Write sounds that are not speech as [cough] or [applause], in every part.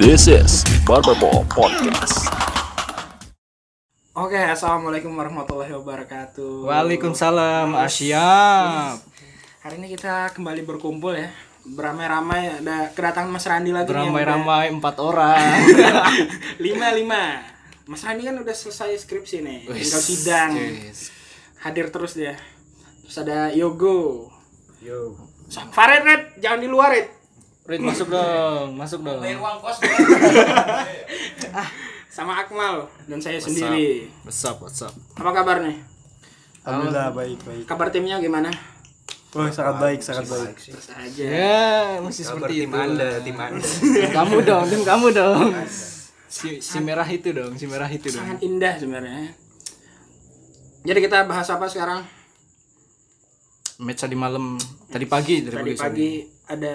This is Barberpop Podcast. Oke, assalamualaikum warahmatullahi wabarakatuh. Waalaikumsalam, Asyap. Hari ini kita kembali berkumpul ya, beramai-ramai. Ada kedatangan Mas Randi lagi. nih yang udah- Beramai-ramai empat [laughs] orang. [laughs] Lima lima. Mas Randi kan udah selesai skripsi nih, tinggal sidang. Wis. Hadir terus dia. Terus ada Yogo. Yo. Farid, Red, jangan di luar, Red. Rit masuk dong, masuk dong. Sama Akmal dan saya sendiri. What's up, what's up? Apa kabar nih? Alhamdulillah baik baik. Kabar timnya gimana? Oh sangat baik sangat baik. Biasa aja. Ya, masih seperti itu. tim Anda. Kamu dong, tim kamu dong. Si, si merah itu dong, si merah itu dong. Sangat indah sebenarnya. Jadi kita bahas apa sekarang? Match tadi malam, tadi pagi, Tadi tadi, pagi. sorry. pagi ada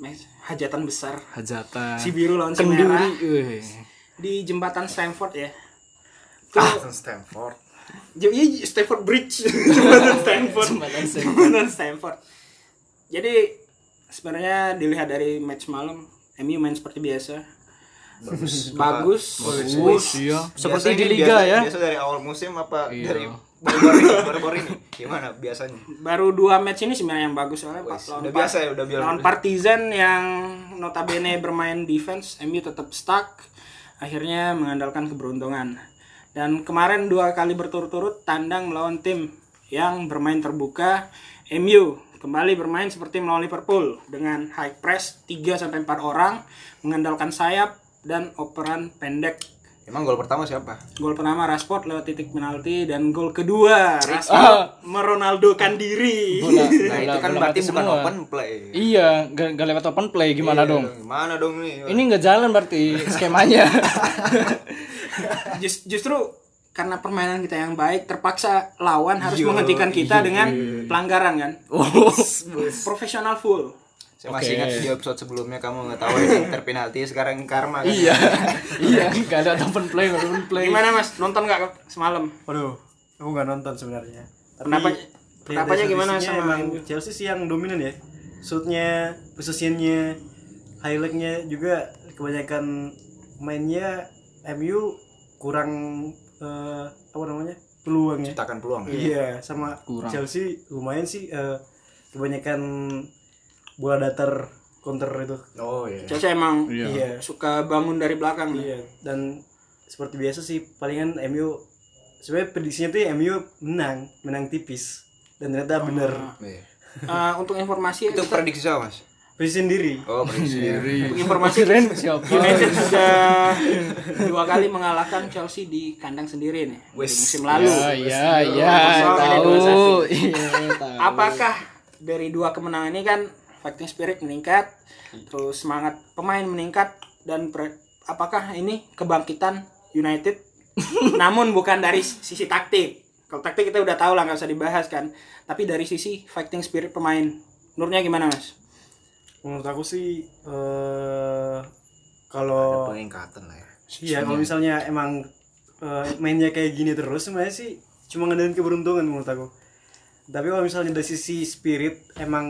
mes- hajatan besar Hajatan. si biru lawan si merah Kenduri, weh. di jembatan Stamford ya. Tuh, Ah. Stanford. jem- iya, Stamford Bridge, [laughs] jembatan Stamford, jembatan Stamford. Jadi sebenarnya dilihat dari match malam, MU main seperti biasa. Bagus, bagus. Bagus, iya. Seperti di liga ya. Biasa dari awal musim apa Iya. dari baru-baru ini, baru-baru ini? Gimana biasanya? Baru dua match ini sebenarnya yang bagus soalnya Pak. Wes, lawan udah Pak- biasa ya, udah biar. lawan Partizan yang notabene bermain defense, MU tetap stuck, akhirnya mengandalkan keberuntungan. Dan kemarin dua kali berturut-turut tandang melawan tim yang bermain terbuka, MU kembali bermain seperti melawan Liverpool dengan high press 3 sampai 4 orang, mengandalkan sayap dan operan pendek. Emang gol pertama siapa? Gol pertama Rashford lewat titik penalti dan gol kedua Ah. Rashford meronaldokan diri. Bola, Nah, bola, itu kan bola berarti mati bukan semua. open Iya. play. Iya, gak, gak lewat open play gimana dong? Gimana dong nih? Ini nggak jalan berarti [laughs] skemanya. Just- justru karena permainan kita yang baik terpaksa lawan harus menghentikan kita dengan pelanggaran kan profesional full Saya masih ingat di episode sebelumnya kamu ngetawain inter penalti sekarang karma kan. iya, iya, nggak ada open play, nggak ada open play. gimana mas nonton nggak semalam Waduh, aku nggak nonton sebenarnya. Tapi iya, Pendapat- pendapatnya gimana realisasinya sama emang MU? Chelsea sih yang dominan ya. Shootnya, posisinya, highlightnya juga kebanyakan mainnya MU kurang eh, apa namanya peluangnya. Ciptakan peluang. ya. Iya, sama Kurang. Chelsea lumayan sih eh, kebanyakan bola datar counter itu. Oh iya. Chelsea emang Iya. suka bangun dari belakang ya? Iya, dan seperti biasa sih palingan MU sebenarnya prediksinya tuh MU menang, menang tipis. Dan ternyata bener Iya. Eh, untuk informasi Itu kita- prediksi siapa, Mas? prediksi sendiri. Oh, prediksi. untuk informasi Informasi Ren siapa? United sudah dua kali mengalahkan Chelsea di kandang sendiri nih di Wes. iya. musim lalu Ya, ya, ya, Kosong, ini tahu. Iya, tahu. apakah dari dua kemenangan ini kan fighting spirit meningkat terus semangat pemain meningkat dan pre- apakah ini kebangkitan [laughs] United namun bukan dari sisi taktik kalau taktik kita udah tahu lah nggak usah dibahas kan tapi dari sisi fighting spirit pemain menurutnya gimana mas Menurut aku sih eh kalau Pengingkatan lah ya. iya kalau misalnya emang eh, mainnya kayak gini terus sebenarnya sih cuma ngadain keberuntungan menurut aku. Tapi kalau misalnya dari sisi spirit emang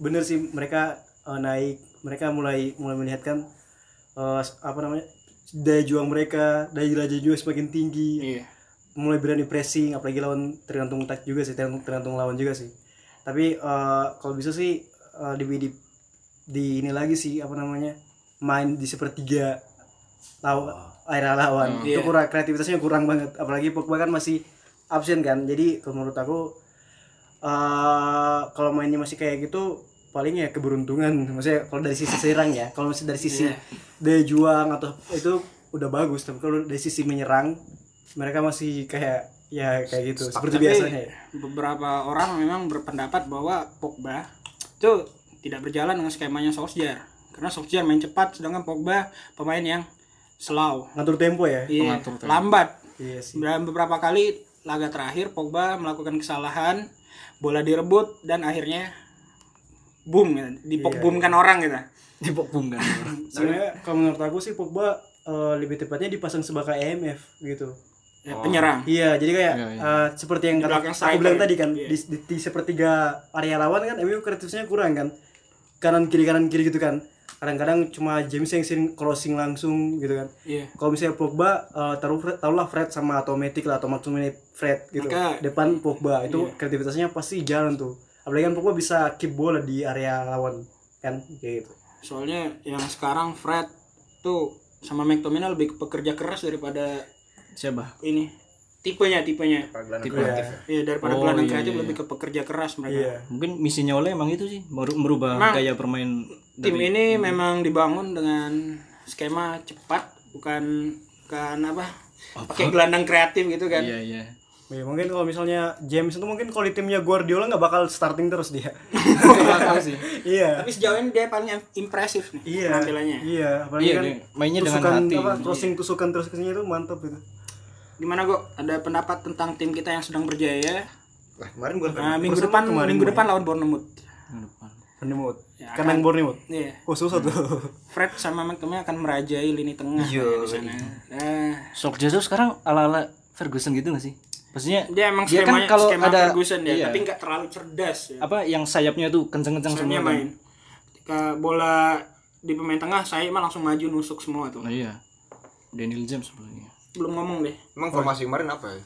bener sih mereka eh, naik, mereka mulai mulai melihatkan eh, apa namanya daya juang mereka, daya jelajah juga semakin tinggi. iya mulai berani pressing apalagi lawan tergantung tak juga sih tergantung, tergantung lawan juga sih tapi eh, kalau bisa sih eh, di, di di ini lagi sih apa namanya main di sepertiga lawan area lawan Iya. itu kurang kreativitasnya kurang banget apalagi Pogba kan masih absen kan jadi kalau menurut aku eh kalau mainnya masih kayak gitu paling ya keberuntungan maksudnya kalau dari sisi serang ya kalau masih dari sisi Iya. daya juang atau itu udah bagus tapi kalau dari sisi menyerang mereka masih kayak ya kayak gitu seperti Tapi biasanya ya. beberapa orang memang berpendapat bahwa Pogba itu tidak berjalan dengan skemanya Solskjaer karena Solskjaer main cepat sedangkan Pogba pemain yang slow ngatur tempo ya Iya, Pengatur tempo. lambat iya sih Dan beberapa kali laga terakhir Pogba melakukan kesalahan, bola direbut dan akhirnya boom gitu. Iya, Dipogboomkan orang gitu. Dipokbum kan? sebenarnya kalau menurut aku sih Pogba eh, lebih tepatnya dipasang sebagai EMF gitu Ya, Oh. penyerang. Iya, jadi kayak Iya, iya. eh, seperti yang Di kata, belakang aku striker. bilang tadi kan Iya. di, di, di sepertiga area lawan kan MU kreatifnya kurang kan. Kanan kiri kanan kiri gitu kan. kadang-kadang cuma James yang sering crossing langsung gitu kan Iya. kalau misalnya Pogba eh, taruh Fred- taruhlah Fred sama Automatic lah atau Martinelli Fred gitu Maka- iya. depan Pogba itu kreativitasnya pasti jalan tuh apalagi kan Pogba bisa keep bola di area lawan kan kayak gitu Soalnya yang sekarang Fred tuh sama McTominay lebih pekerja keras daripada Siapa? ini tipenya tipenya. Tipe Iya daripada Oh, gelandang iya, kreatif iya. lebih ke pekerja keras mereka. iya Mungkin misinya oleh emang itu sih, meru- merubah Nah, gaya bermain Tim ini hmm. memang dibangun dengan skema cepat bukan bukan apa? Pakai gelandang kreatif gitu kan. Iya, iya. Iya, mungkin kalau misalnya James itu mungkin kalau di timnya Guardiola nggak bakal starting terus dia Bakal sih. [laughs] iya Tapi sejauh ini dia paling im- impresif nih iya penampilannya. iya apalagi Iya, kan dia mainnya dengan tusukan hati. apa, crossing tusukan terus ke sini itu mantap gitu Gimana kok ada pendapat tentang tim kita yang sedang berjaya? Lah, kemarin gua Nah, minggu depan minggu depan lawan Bournemouth. Bournemouth Ya, karena yang Bournemouth Iya. oh susah tuh [laughs] Fred sama McTominay akan merajai lini tengah Iya, ya, di sana. Nah, Sok Jazo sekarang ala-ala Ferguson gitu gak sih? Maksudnya dia emang dia kan skemanya kalau skema ada Ferguson ya, iya, tapi nggak terlalu cerdas ya. apa yang sayapnya tuh kenceng-kenceng Sayapnya semua. kan? main. Ketika bola di pemain tengah, saya emang langsung maju nusuk semua tuh. Nah, iya. Daniel James sebenarnya. Belum ngomong deh. Emang formasi kemarin apa ya?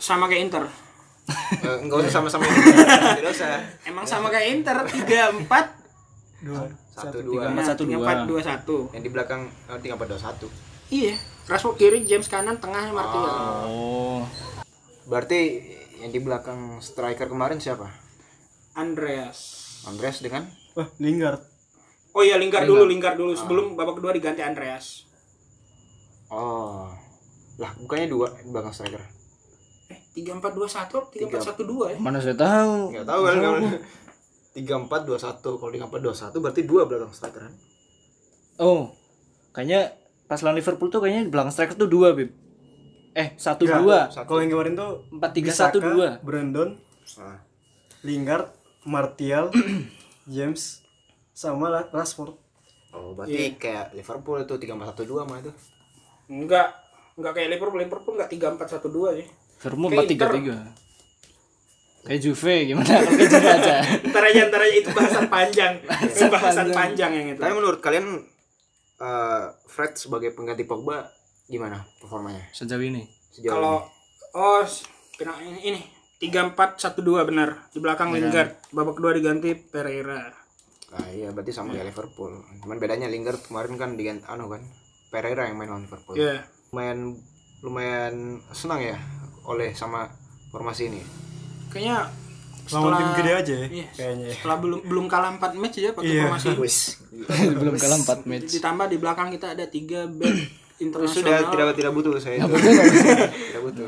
Sama kayak Inter. Eh, Enggak usah [laughs] sama-sama. Tidak usah. Emang sama kayak Inter Nah, 3 4 Satu dua. Empat, satu, dua. 4 2 1. Yang di belakang eh, tiga pada satu. Iya. Rashford kiri, James kanan, tengah Martial. Oh. Berarti yang di belakang striker kemarin siapa? Andreas. Andres dengan wah Lingard Oh iya, lingkar dulu, lingkar dulu sebelum babak kedua diganti Andreas. Oh. Lah, bukannya dua di belakang striker. Eh, 3 4 2 1, 3 4 1 2 ya. Mana saya tahu. Enggak tahu kan kamu. 3421. Kalau 3421 berarti dua belakang striker kan? Oh. Kayaknya pas lawan Liverpool tuh kayaknya di belakang striker tuh dua, Bib. Eh, satu Iya, dua. kalau yang kemarin tuh Empat, tiga, Bisaka, satu, dua. Brandon Salah. Lingard [clears throat] Martial James sama lah Rashford Oh, berarti kayak Liverpool itu 3412 mah itu. Enggak, enggak kayak Liverpool, Liverpool enggak 3 4 1 2 sih. Liverpool Kayak empat tiga tiga. Kayak Juve gimana? [laughs] Kalau kayak Juve aja. Ntar aja, ntar aja itu [laughs] bahasan panjang. Itu bahasan panjang yang itu. Tapi menurut kalian eh, Fred sebagai pengganti Pogba gimana performanya Sejauh ini. sejauh Kalau oh, s- kena ini, ini 3 4 1 2 benar. Di belakang Lingard, babak kedua diganti Pereira. ini? Ah, iya berarti sama kayak Liverpool. Cuman bedanya Lingard kemarin kan dengan anu kan Pereira yang main lawan Liverpool. Iya. Lumayan lumayan senang ya oleh sama formasi ini. Kayaknya lawan setelah- tim gede aja ya Iya, kayaknya Iya. ya. setelah belum belum kalah 4 match ya pakai formasi Iya. ini. Wis. Iya. Belum kalah empat match. ditambah di belakang kita ada [clears throat] 3 back internasional. Sudah tidak tidak butuh saya itu. [laughs] Iya, tidak butuh.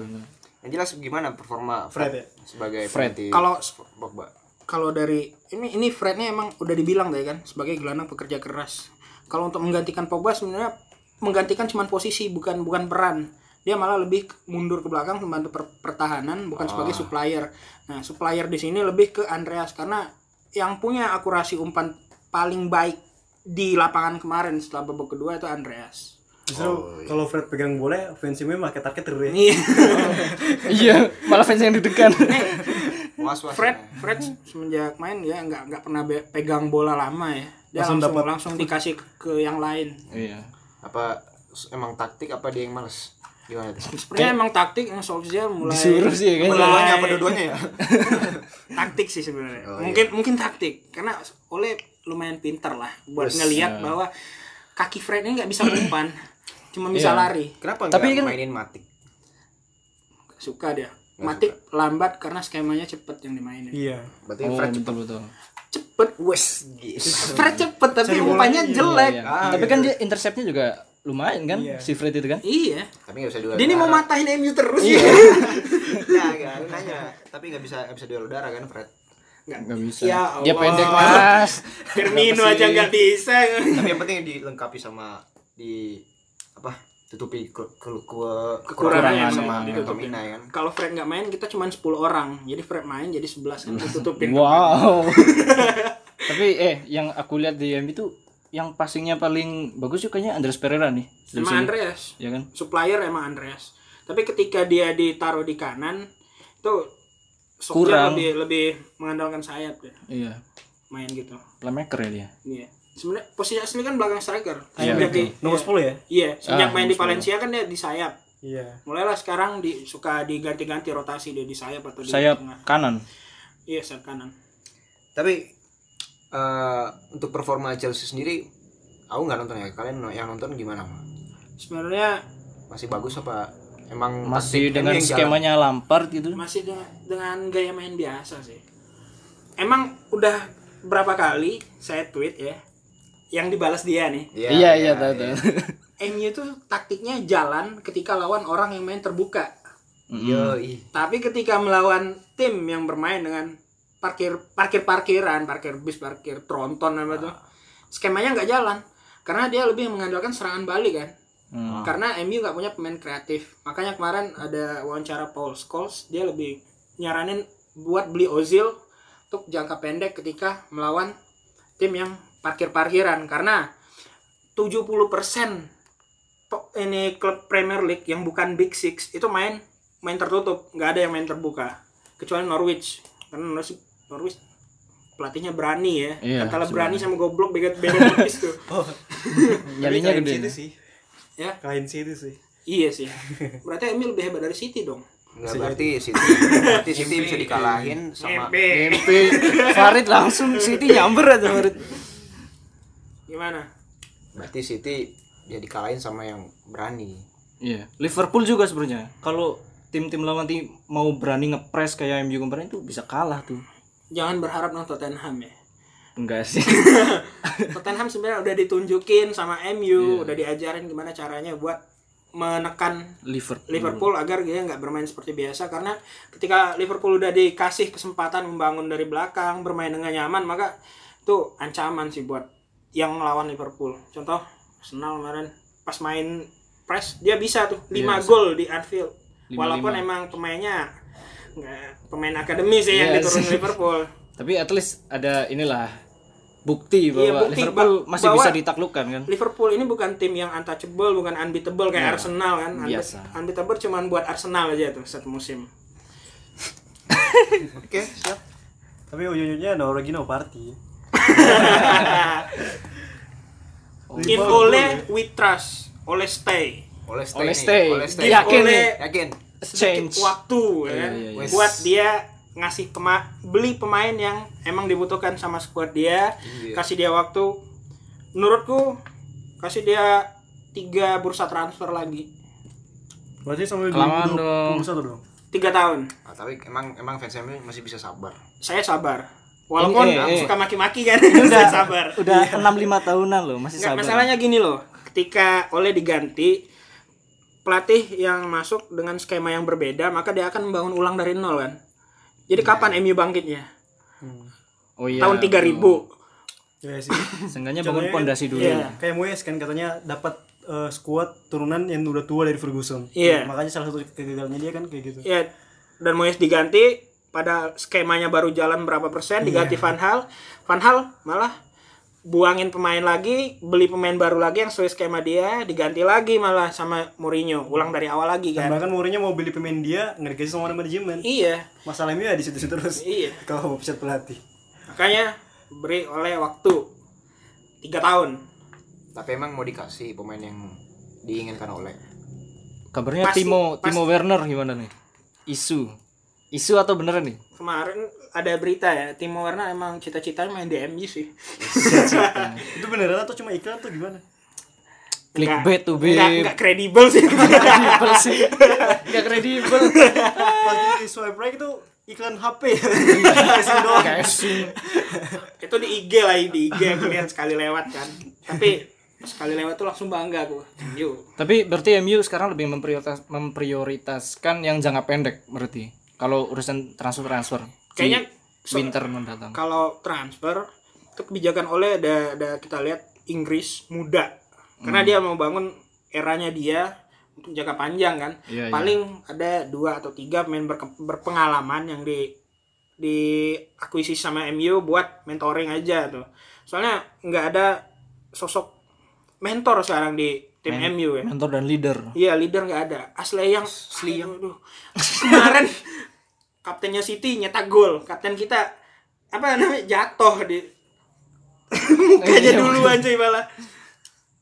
Yang jelas gimana performa Fred, Fred ya? sebagai Fred. pengganti Kalau Pogba. kalau dari ini ini Frednya emang udah dibilang tadi kan sebagai gelandang pekerja keras. Kalau untuk menggantikan Pogba sebenarnya menggantikan cuman posisi bukan bukan peran. Dia malah lebih ke- mundur ke belakang membantu per- pertahanan bukan sebagai Ah. supplier. Nah, supplier di sini lebih ke Andreas karena yang punya akurasi umpan paling baik di lapangan kemarin setelah babak kedua itu Andreas. justru kalau Fred pegang bola offensive-nya pakai target terus ya Nih, [laughs] Iya, malah fans yang deg-degan. Eh. Was was. Fred Fred semenjak main ya nggak nggak pernah be- pegang bola lama ya. Dia langsung Langsung langsung, dapat. dikasih ke yang lain. Iya. Apa emang taktik apa dia yang males? Gimana itu? Sebenarnya emang taktik yang Solskjaer mulai Disuruh sih ya kan. Mulai- Dua-duanya apa dua-duanya ya? taktik sih sebenarnya. Oh, mungkin mungkin taktik karena oleh lumayan pinter lah buat ngelihat bahwa kaki Fred ini nggak bisa umpan, cuma bisa Iya. lari. Kenapa Tapi nggak kan- mainin Matik? Nggak Suka dia. Matik lambat karena skemanya cepet yang dimainin. iya Berarti Oh, Fred betul betul. Cepet, wes. Fred cepet tapi umpannya jelek. Ah, Iya. Tapi kan dia interceptnya juga lumayan kan si Fred itu kan. Iya. tapi nggak bisa duel. Dia ini mau matahin MU terus ya. Nah, nggak nanya. Tapi nggak bisa nggak bisa duel udara kan Fred. Enggak bisa. Ya Iya, dia Allah. [laughs] pendek, Mas. Firmino aja nggak bisa. Tapi yang penting dilengkapi sama di apa? Tutupi ke, ke, ke- Kekurangannya kekurangan sama ditutupin. Tomina kan. Kalau Fred nggak main kita cuma 10 orang. Jadi Fred main jadi 11 kan tutupin. [laughs] Hmm. Wow. Tapi eh yang aku lihat di MU itu yang passingnya paling bagus tuh kayaknya Andres Pereira nih. Dari Emang sini. Andreas. Ya kan? Supplier emang Andreas. Tapi ketika dia ditaruh di kanan itu Sokja Kurang. lebih lebih mengandalkan sayap deh Iya. main gitu. Playmaker ya dia. Iya. sebenarnya posisi asli kan belakang striker. Iya, Semenjak betul. di- Nomor iya. 10 ya? Iya, sejak Ah, main di nomor Valencia kan dia di sayap. Iya. Mulailah sekarang di, suka diganti-ganti rotasi dia di sayap atau di sayap tengah. kanan Iya, sayap kanan. tapi eh, untuk performa Chelsea sendiri aku nggak nonton ya kalian no- yang nonton gimana Ma? Sebenarnya masih bagus apa emang masih taktik dengan MU yang jalan? skemanya Lampard gitu masih dengan, dengan gaya main biasa sih. Emang udah berapa kali saya tweet ya yang dibalas dia nih. iya iya tahu tahu MU itu taktiknya jalan ketika lawan orang yang main terbuka. Yoi. Tapi ketika melawan tim yang bermain dengan parkir parkir parkiran, parkir bis, parkir tronton apa tuh, skemanya nggak jalan karena dia lebih mengandalkan serangan balik kan. Hmm. Karena MU nggak punya pemain kreatif. Makanya kemarin ada wawancara Paul Scholes, dia lebih nyaranin buat beli Ozil untuk jangka pendek ketika melawan tim yang parkir-parkiran karena 70% to- ini klub Premier League yang bukan Big Six itu main main tertutup, nggak ada yang main terbuka kecuali Norwich. Karena Norwich, Norwich pelatihnya berani ya. Iya, Oh. Antara berani sama goblok beda beda tipis [laughs] tuh. Nyalinya Tapi gede KNC itu nih. sih. Ya. KNC itu sih. Iya [laughs] sih. Berarti Emil lebih hebat dari City dong. Nggak berarti City berarti City bisa dikalahin sama Mimpi Farid langsung City nyamber aja Farid Gimana? berarti City ya dikalahin sama yang berani Iya, Liverpool juga sebenarnya. Kalau tim-tim lawan nanti mau berani ngepres kayak MU kemarin itu bisa kalah tuh. Jangan berharap nonton Tottenham [laughs] ya. Enggak sih. Tottenham sebenarnya udah ditunjukin sama MU, udah diajarin gimana caranya buat menekan [laughs] Liverpool. Liverpool agar dia nggak bermain seperti biasa karena ketika Liverpool udah dikasih kesempatan membangun dari belakang, bermain dengan nyaman, maka itu ancaman sih buat yang melawan Liverpool. Contoh Arsenal kemarin pas main press dia bisa Iya, tuh 5 gol di Anfield. Walaupun emang pemainnya nggak pemain akademi sih yang Iya diturunin sih. Liverpool. Tapi at least ada inilah bukti bahwa Iya, bukti Liverpool ba- masih bahwa- bisa ditaklukkan kan. Liverpool ini bukan tim yang untouchable, bukan unbeatable kayak Arsenal kan. Unbe- Iya. biasa. Unbeatable cuman buat Arsenal aja tuh satu musim. oke siap Tapi ujung-ujungnya no lagi no party. In Ole we trust, Ole stay. oleh stay Oleh nih. stay. Oleh stay. Yakin Oleh- nih. yakin Sedikit Change. waktu ya kan. iya, iya. Buat dia ngasih pema- beli pemain yang emang dibutuhkan sama squad dia, Iya. kasih dia waktu. Menurutku kasih dia tiga bursa transfer lagi. Berarti sampai Kelamaan 2021 dong. dong. Tiga tahun. Ah, tapi emang emang fans MU masih bisa sabar Saya sabar. Walaupun Ini, eh, eh. suka maki-maki kan, [laughs] saya sabar. Udah enam lima tahunan loh masih Iya. Nggak, sabar. masalahnya gini loh, ketika oleh diganti pelatih yang masuk dengan skema yang berbeda, maka dia akan membangun ulang dari nol kan. Jadi kapan MU bangkitnya? Oh iya. Tahun 3000. Iya [laughs] sih. Seenggaknya bangun Contohnya kan- pondasi dulu. Iya. Kayak Moyes kan katanya dapat eh, squad turunan yang udah tua dari Ferguson. Iya. Makanya salah satu kegagalannya dia kan kayak gitu. Ya, dan Moyes diganti pada skemanya baru jalan berapa Iya. persen diganti Van Hal. Van Hal malah buangin pemain lagi, beli pemain baru lagi yang sesuai skema dia, diganti lagi malah sama Mourinho, ulang dari awal lagi Dan kan. bahkan Mourinho mau beli pemain dia nggak dikasih sama manajemen. Iya, Masalahnya ya di situ-situ terus. Iya. Kalau mau pecat pelatih. makanya beri oleh waktu tiga tahun tapi emang mau dikasih pemain yang diinginkan oleh Kabarnya Pasti- Timo pasti. Timo Werner gimana nih? Isu. Isu atau beneran nih? kemarin ada berita ya Timo Werner emang cita-citanya main DMU sih Itu beneran atau cuma iklan atau gimana? Clickbait tuh, Beb. nggak [laughs] nggak kredibel sih [laughs] Kredibel sih. Gak kredibel. Iya. Pas di swipe right itu iklan [laughs] HP. Kasih doang. itu di IG lah di IG aku lihat sekali lewat kan tapi sekali lewat tuh langsung bangga gua MU Tapi berarti MU sekarang lebih memprioritas, memprioritaskan yang jangka pendek berarti. Kalau urusan transfer-transfer. di Kayaknya so- winter mendatang. kalau transfer itu kebijakan oleh ada, ada kita lihat Inggris muda karena Hmm. dia mau bangun eranya dia untuk jangka panjang kan Iya, iya. paling ada dua atau tiga pemain berke- berpengalaman yang di di akuisisi sama MU buat mentoring aja tuh soalnya nggak ada sosok mentor sekarang di tim MU ya Mentor dan leader. Iya leader nggak ada. Asli yang asli yang kemarin kaptennya City nyetak gol. Kapten kita apa namanya jatuh di [laughs] Mukanya Iya, duluan cuy malah.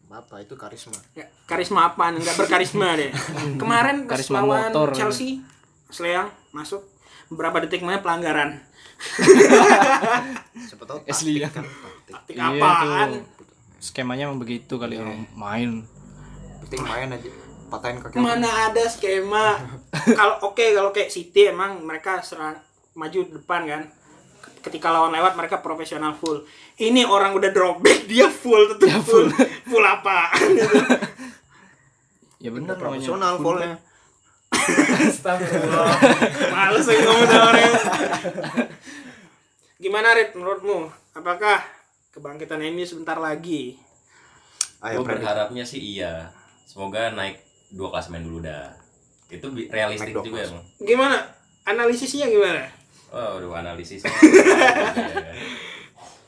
Bapak itu karisma. Ya, karisma apaan? Enggak berkarisma deh. Kemarin pas Hmm, Karisma lawan motor. Chelsea, Sleang masuk beberapa detik mana pelanggaran. Siapa tahu Es taktik liang. kan, taktik. Taktik Iya, apaan? Skemanya emang begitu Iya. kali orang main. Penting main aja. Patahin kaki. orang. Mana ada [laughs] skema? kalau oke kalau kayak City emang mereka serang maju depan kan. Ketika lawan lewat mereka profesional full. Ini orang udah drop back [laughs] dia full tetap full. Full [laughs] apa? Ya benar namanya. Profesional volnya. Astagfirullah. Males lagi ngomong sama orang. Gimana Rit menurutmu? Apakah kebangkitan MU sebentar lagi? Ayo Gue Freddy. berharapnya sih iya. Semoga naik dua klasemen dulu dah. Itu bi- realistik Naik dua juga klasemen. emang. Gimana? Analisisnya gimana? Wah, udah [laughs] Iya, analisisnya. iya.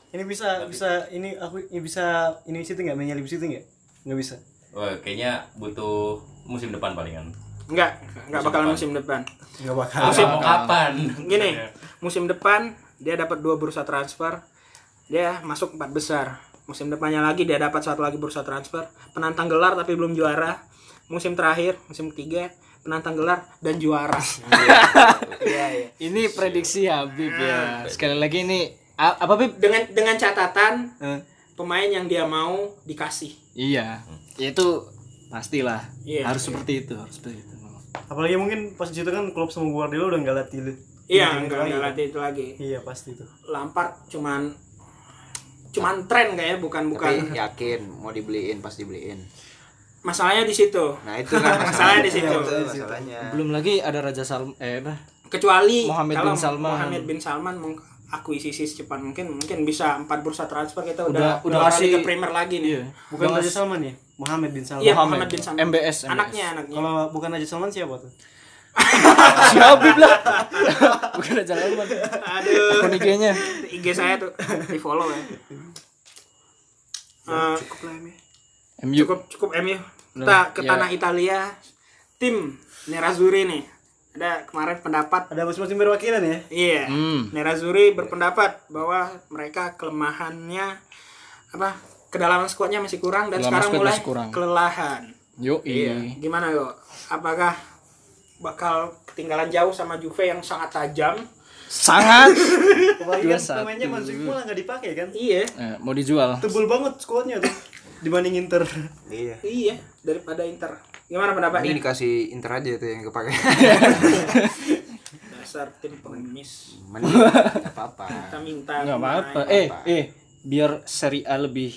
ini bisa bisa ini aku ini bisa ini situ nggak mainnya lebih situ nggak nggak bisa Wah, Oh, kayaknya butuh musim depan palingan. Enggak, enggak bakal musim depan. nggak bakal Apa mau kapan? Gini, musim depan dia dapat dua bursa transfer, dia masuk empat besar. Musim depannya lagi dia dapat satu lagi bursa transfer, penantang gelar tapi belum juara. Musim terakhir, musim ketiga, penantang gelar dan [laughs] juara. [laughs] Ini prediksi Habib Iya, ya. Sekali lagi ini a- apa Bib? Dengan dengan catatan Eh, pemain yang dia mau dikasih. iya. Ya itu pastilah. Iya, harus seperti itu, harus seperti itu. apalagi mungkin pas itu kan klub sama Guardiola udah nggak latih lu Iya, enggak enggak latih itu lagi. iya pasti itu Lampard cuman cuman tren kayaknya bukan bukan. Tapi yakin mau dibeliin pas dibeliin. Masalahnya di situ. Nah itu kan Masalahnya di situ. Itu masalahnya. Belum lagi ada Raja Salm eh apa? Kecuali Mohamed kalau bin Salman. Mohamed bin Salman meng- akuisisi secepat mungkin mungkin bisa empat bursa transfer kita udah Udah- udah dua kali kasih- ke Premier lagi nih. Iya. bukan Udah Raja ngas- Salman ya Muhammad bin Salman Iya, Mohamed. Mohamed bin Salman. MBS. Anaknya anaknya. kalau bukan Raja Salman siapa tuh Si Habib lah. [laughs] Bukan Raja Salman. Aduh, Akun IG-nya. IG saya tuh di follow ya. Ya, Eh, MU. cukup cukup MU kita ke Ya. tanah Italia tim Nerazzurri nih ada kemarin pendapat ada musim-musim perwakilan ya iya Hmm. Nerazzurri berpendapat bahwa mereka kelemahannya apa kedalaman skuadnya masih kurang dan Kedalaman sekarang skuad mulai masih kurang. kelelahan Yo, iya. gimana yo apakah bakal ketinggalan jauh sama Juve yang sangat tajam Sangat. apalagi Dua kan satu. pemainnya masuk pula nggak dipakai kan iya Eh, mau dijual. tebel banget squadnya tuh dibanding Inter Iya. iya daripada Inter gimana Ini pendapatnya dikasih inter aja tuh yang kepake. dasar tim pengemis Mending nggak apa-apa. kita minta Enggak pemain. apa-apa. Eh, eh, biar Serie A lebih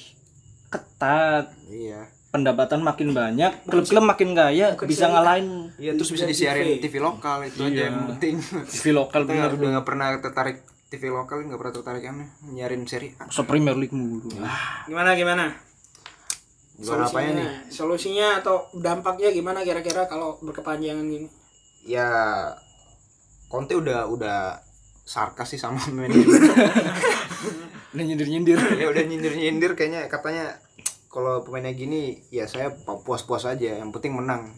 ketat, Iya. pendapatan makin banyak, klub-klub makin kaya, Serie bisa A. ngalahin Iya terus bisa Liga disiarin TV. TV lokal itu aja yang penting. TV lokal Kita nggak- bener. udah nggak pernah tertarik TV lokal nggak pernah tertarik kan nyarin seri Ah, A. So Premier League mulu. Iya. gimana gimana Gimana apanya ya nih? solusinya atau dampaknya gimana kira-kira kalau berkepanjangan gini Ya Conte udah udah sarkas sih sama [laughs] manajemen. Udah nyindir-nyindir. ya udah nyindir-nyindir kayaknya katanya kalau pemainnya gini ya saya puas-puas aja yang penting menang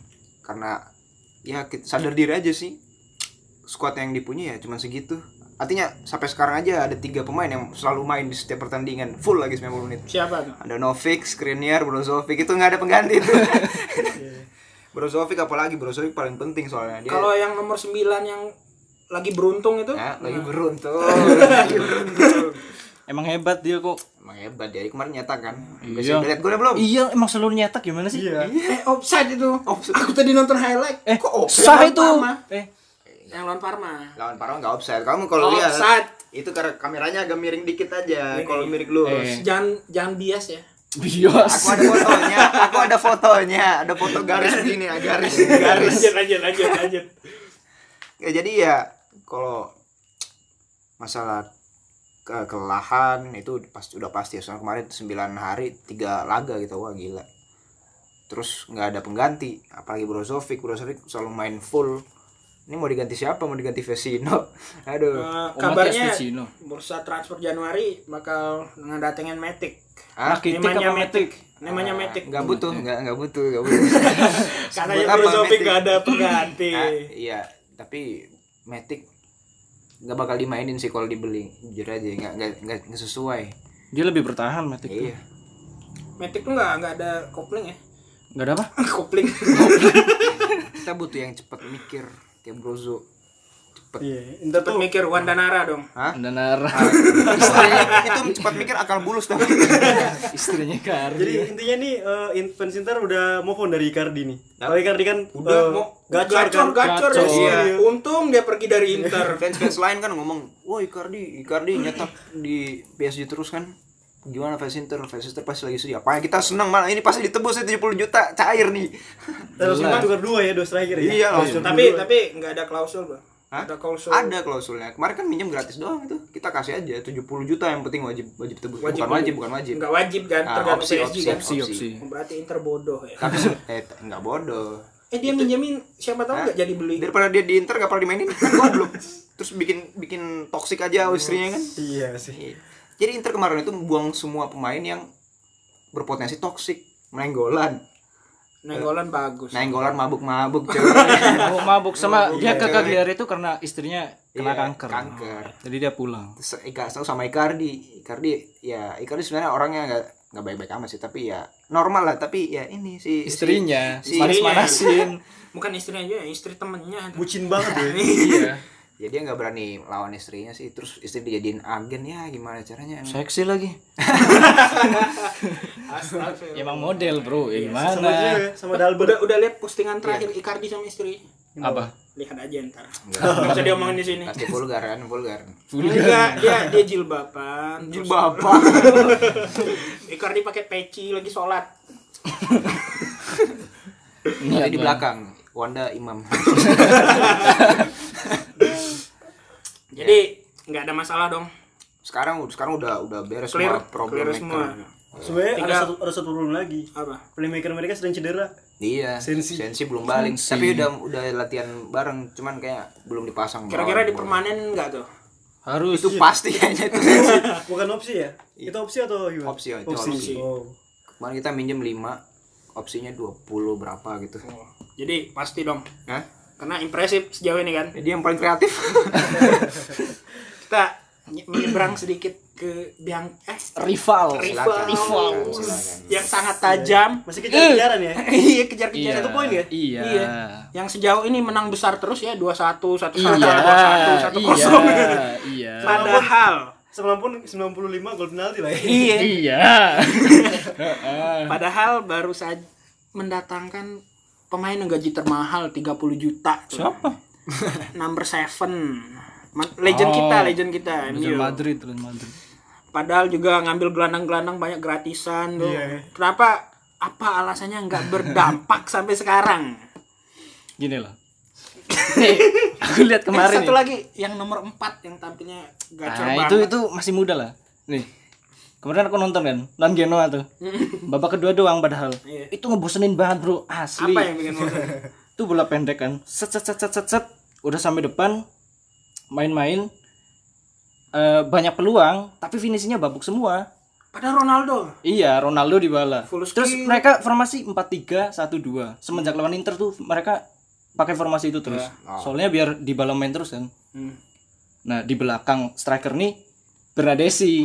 karena ya kita sadar diri aja sih squad yang dipunya ya cuman segitu artinya sampai sekarang aja ada tiga pemain yang selalu main di setiap pertandingan full lagi 90 menit siapa tuh ada Novik, Skriniar, Brozovic itu nggak ada pengganti itu [laughs] Brozovic apalagi Brozovic paling penting soalnya dia kalau yang nomor 9 yang lagi beruntung itu ya, lagi beruntung lagi beruntung Emang hebat dia kok. emang hebat dia kemarin nyatakan Iya. Bisa udah lihat golnya belum Iya, emang seluruh nyetak gimana sih? eh offside itu aku tadi nonton highlight Eh, kok offside lawan sah itu. Parma? Eh, yang lawan Parma lawan Parma nggak offside kamu kalau lihat Offside. itu karena kameranya agak miring dikit aja kalau miring lurus jangan jangan bias ya aku bios. ada fotonya aku ada fotonya ada foto [laughs] garis begini ah, garis garis lanjut lanjut lanjut lanjut ya, jadi ya kalau masalah ke kelelahan itu pasti udah pasti ya. soalnya kemarin 9 hari tiga laga gitu wah gila terus nggak ada pengganti apalagi Brozovic Brozovic selalu main full ini mau diganti siapa mau diganti Vecino [laughs] Eh, aduh Omatia kabarnya Spicino. bursa transfer Januari bakal ngedatengin Matic Ah, Rakitic namanya apa Matic namanya Matic nggak butuh nggak nggak butuh [laughs] nggak butuh Buat katanya apa Brozovic Matic? gak ada pengganti Ah, iya tapi Matic nggak bakal dimainin sih kalau dibeli jujur aja nggak nggak nggak nggak sesuai Dia lebih bertahan Matic tuh. Iya. Matic tuh nggak nggak ada kopling ya? [laughs] Enggak ada apa? kopling. Kita butuh yang cepat mikir, tiap brozo. Cepet. Iya, entar Cepet tuh mikir Wandanara dong. Danar Istrinya itu cepat mikir akal bulus tapi. [laughs] istrinya [laughs] Kar. jadi intinya nih eh, Infants Inter udah move on dari Icardi nih. Kalau Icardi kan Udah eh, mau gacor, kan? gacor, gacor, ya. Iya. Untung dia pergi dari [laughs] Inter. Fans-fans lain kan ngomong, wah Icardi, Icardi nyetak di PSG terus kan. Gimana fans Inter, fans Inter pasti lagi sedih. Apanya kita senang malah ini pasti ditebus ya 70 juta cair nih. Terus kan tukar dua ya, dua striker ya. Iya, langsung. tapi tapi nggak ada klausul bro. Hah? Ada klausul. Ada klausulnya. Kemarin kan minjem gratis doang itu. Kita kasih aja 70 juta yang penting wajib wajib tebus. bukan wajib, bukan wajib. Nggak wajib kan? Ah, Tergantung opsi, PSG opsi, kan. opsi, opsi. Berarti Inter bodoh ya. Tapi eh t- nggak [laughs] bodoh. Eh dia minjemin siapa tahu nggak jadi beli. Daripada dia di Inter nggak pernah dimainin, kan goblok. Terus bikin bikin toksik aja istrinya kan. Iya sih. Iya. Jadi Inter kemarin itu membuang semua pemain yang berpotensi toksik, menenggolan, Nenggolan bagus. nenggolan [laughs] mabuk-mabuk cewek. Mau Oh, mabuk sama dia Iya. ke KGR itu karena istrinya kena Iya, kanker. Kanker. Jadi dia pulang. Terus Ika eh, tahu sama Icardi. Icardi ya Icardi sebenarnya orangnya nggak nggak baik-baik amat sih, tapi ya normal lah. Tapi ya ini si si- Istrinya si- manas-manasin. Bukan istrinya aja, istri temennya. Bucin banget ya. Iya. Ya dia nggak berani lawan istrinya sih. Terus istri dijadiin agen ya gimana caranya? Seksi lagi. Astagfirullah. Emang model, Bro. Ya Sama dia gimana? ya, sama Udah Dalbert. udah lihat postingan terakhir Iya. Icardi sama istri. Apa? Lihat aja ntar. Nggak usah diomongin di sini. Pasti vulgar kan, vulgar. Enggak, [laughs] dia dia jilbaban. terus Bapak. Icardi pakai peci lagi sholat. Tapi di belakang Wanda Imam. Jadi Iya. nggak ada masalah dong. Sekarang sekarang udah udah beres Clear, semua kan. problem clear maker. semua. Sebenarnya ada Tiga. satu ada satu problem lagi. Apa? Playmaker mereka sedang [laughs] cedera. Iya. Sensi. Sensi belum balik. Tapi udah udah latihan bareng, cuman kayak belum dipasang. Kira-kira bawah- di permanen nggak tuh? bawah. itu pasti kayaknya [laughs] itu Sensi. Bukan opsi ya? Itu opsi atau Iya. gimana? Opsi, itu opsi. Oh. Kemarin kita minjem 5 opsinya 20 berapa gitu. Jadi pasti dong. Hah? Karena impresif sejauh ini kan. Jadi yang paling kreatif. [laughs] Kita ny- menyeberang sedikit ke biang eh Rival. rival, Silakan, silakan. yang sangat tajam. [laughs] Masih kejar-kejaran ya? Iya kejar-kejar Iya. satu poin ya. Iya. Yang sejauh ini menang besar terus ya 21 1 1 Iya. 2 1 Iya. [laughs] 1 0. [laughs] Iya. Padahal Semalam pun 95 gol penalti lah ya. iya Iya. Padahal baru saja mendatangkan pemain yang gaji termahal 30 juta. Siapa? Number 7. Ma- Legend Oh. kita, legend kita. Real MU. Madrid, Real Madrid. Padahal juga ngambil gelandang-gelandang banyak gratisan tuh. Kenapa apa alasannya nggak berdampak [laughs] sampai sekarang? Gini lah. [laughs] Nih, aku lihat Eh, kemarin satu nih. lagi yang nomor 4 yang tampilnya gacor Nah, banget. itu itu masih muda lah. Nih. Kemarin aku nonton kan, lawan Genoa tuh. Babak kedua doang padahal. Iya. Itu ngebosenin banget, Bro. Asli. Apa yang bikin bosan? Itu bola pendek kan. Set set set set set, set. udah sampai depan main-main Eh, banyak peluang, tapi finishnya babuk semua. Padahal Ronaldo. Iya, Ronaldo di bala. Full Terus skill. mereka formasi 4-3-1-2. Semenjak lawan Inter tuh mereka pakai formasi itu terus. Iya. Oh. Soalnya biar di bala main terus kan. Hmm. Nah, di belakang striker nih [laughs] Bernadesi.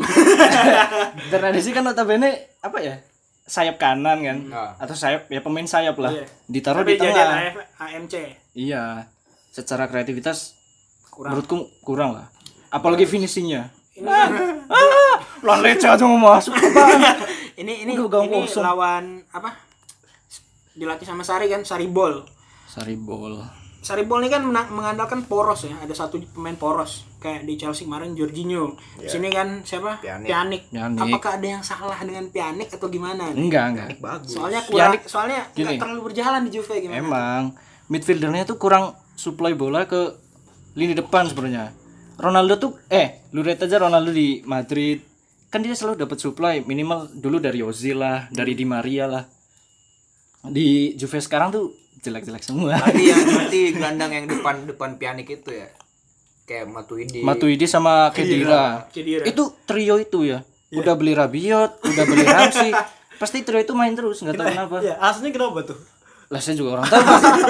Bernadesi kan notabene apa ya? Sayap kanan kan. Atau sayap ya pemain sayap lah. Hmm. Ah. Iya. Ditaruh Tapi di tengah. jadian ya. AF- AMC. Iya. Secara kreativitas Kurang. menurutku kurang lah. Apalagi finishingnya. Ah, ah, lawan Lecce aja mau [laughs] masuk apaan? ini ini Udah, gawang ini kosong. lawan apa dilatih sama Sari kan Sari Ball Saribol. Sari Ball ini kan mena- mengandalkan poros ya ada satu pemain poros kayak di Chelsea kemarin Jorginho Di sini kan siapa Pjanic. Pianik. Pjanic. apakah ada yang salah dengan Pianik atau gimana Enggak, enggak. soalnya kurang Pjanic- soalnya nggak Ya, Gini. terlalu berjalan di Juve gimana Emang midfieldernya tuh kurang supply bola ke lini depan sebenarnya. Ronaldo tuh eh lu lihat aja Ronaldo di Madrid kan dia selalu dapat supply minimal dulu dari Ozil lah, dari Di Maria lah. Di Juve sekarang tuh jelek-jelek [laughs] semua. Berarti yang Iya, berarti gelandang yang depan depan pianik itu ya. Kayak Matuidi. Matuidi sama Kedira. Khedira. Itu trio itu ya. Udah beli Rabiot, udah beli [laughs] Ramsey. Nah, Pasti trio itu main terus nggak tahu kenapa. Ya, aslinya Iya, kenapa tuh? Lah saya juga orang tahu.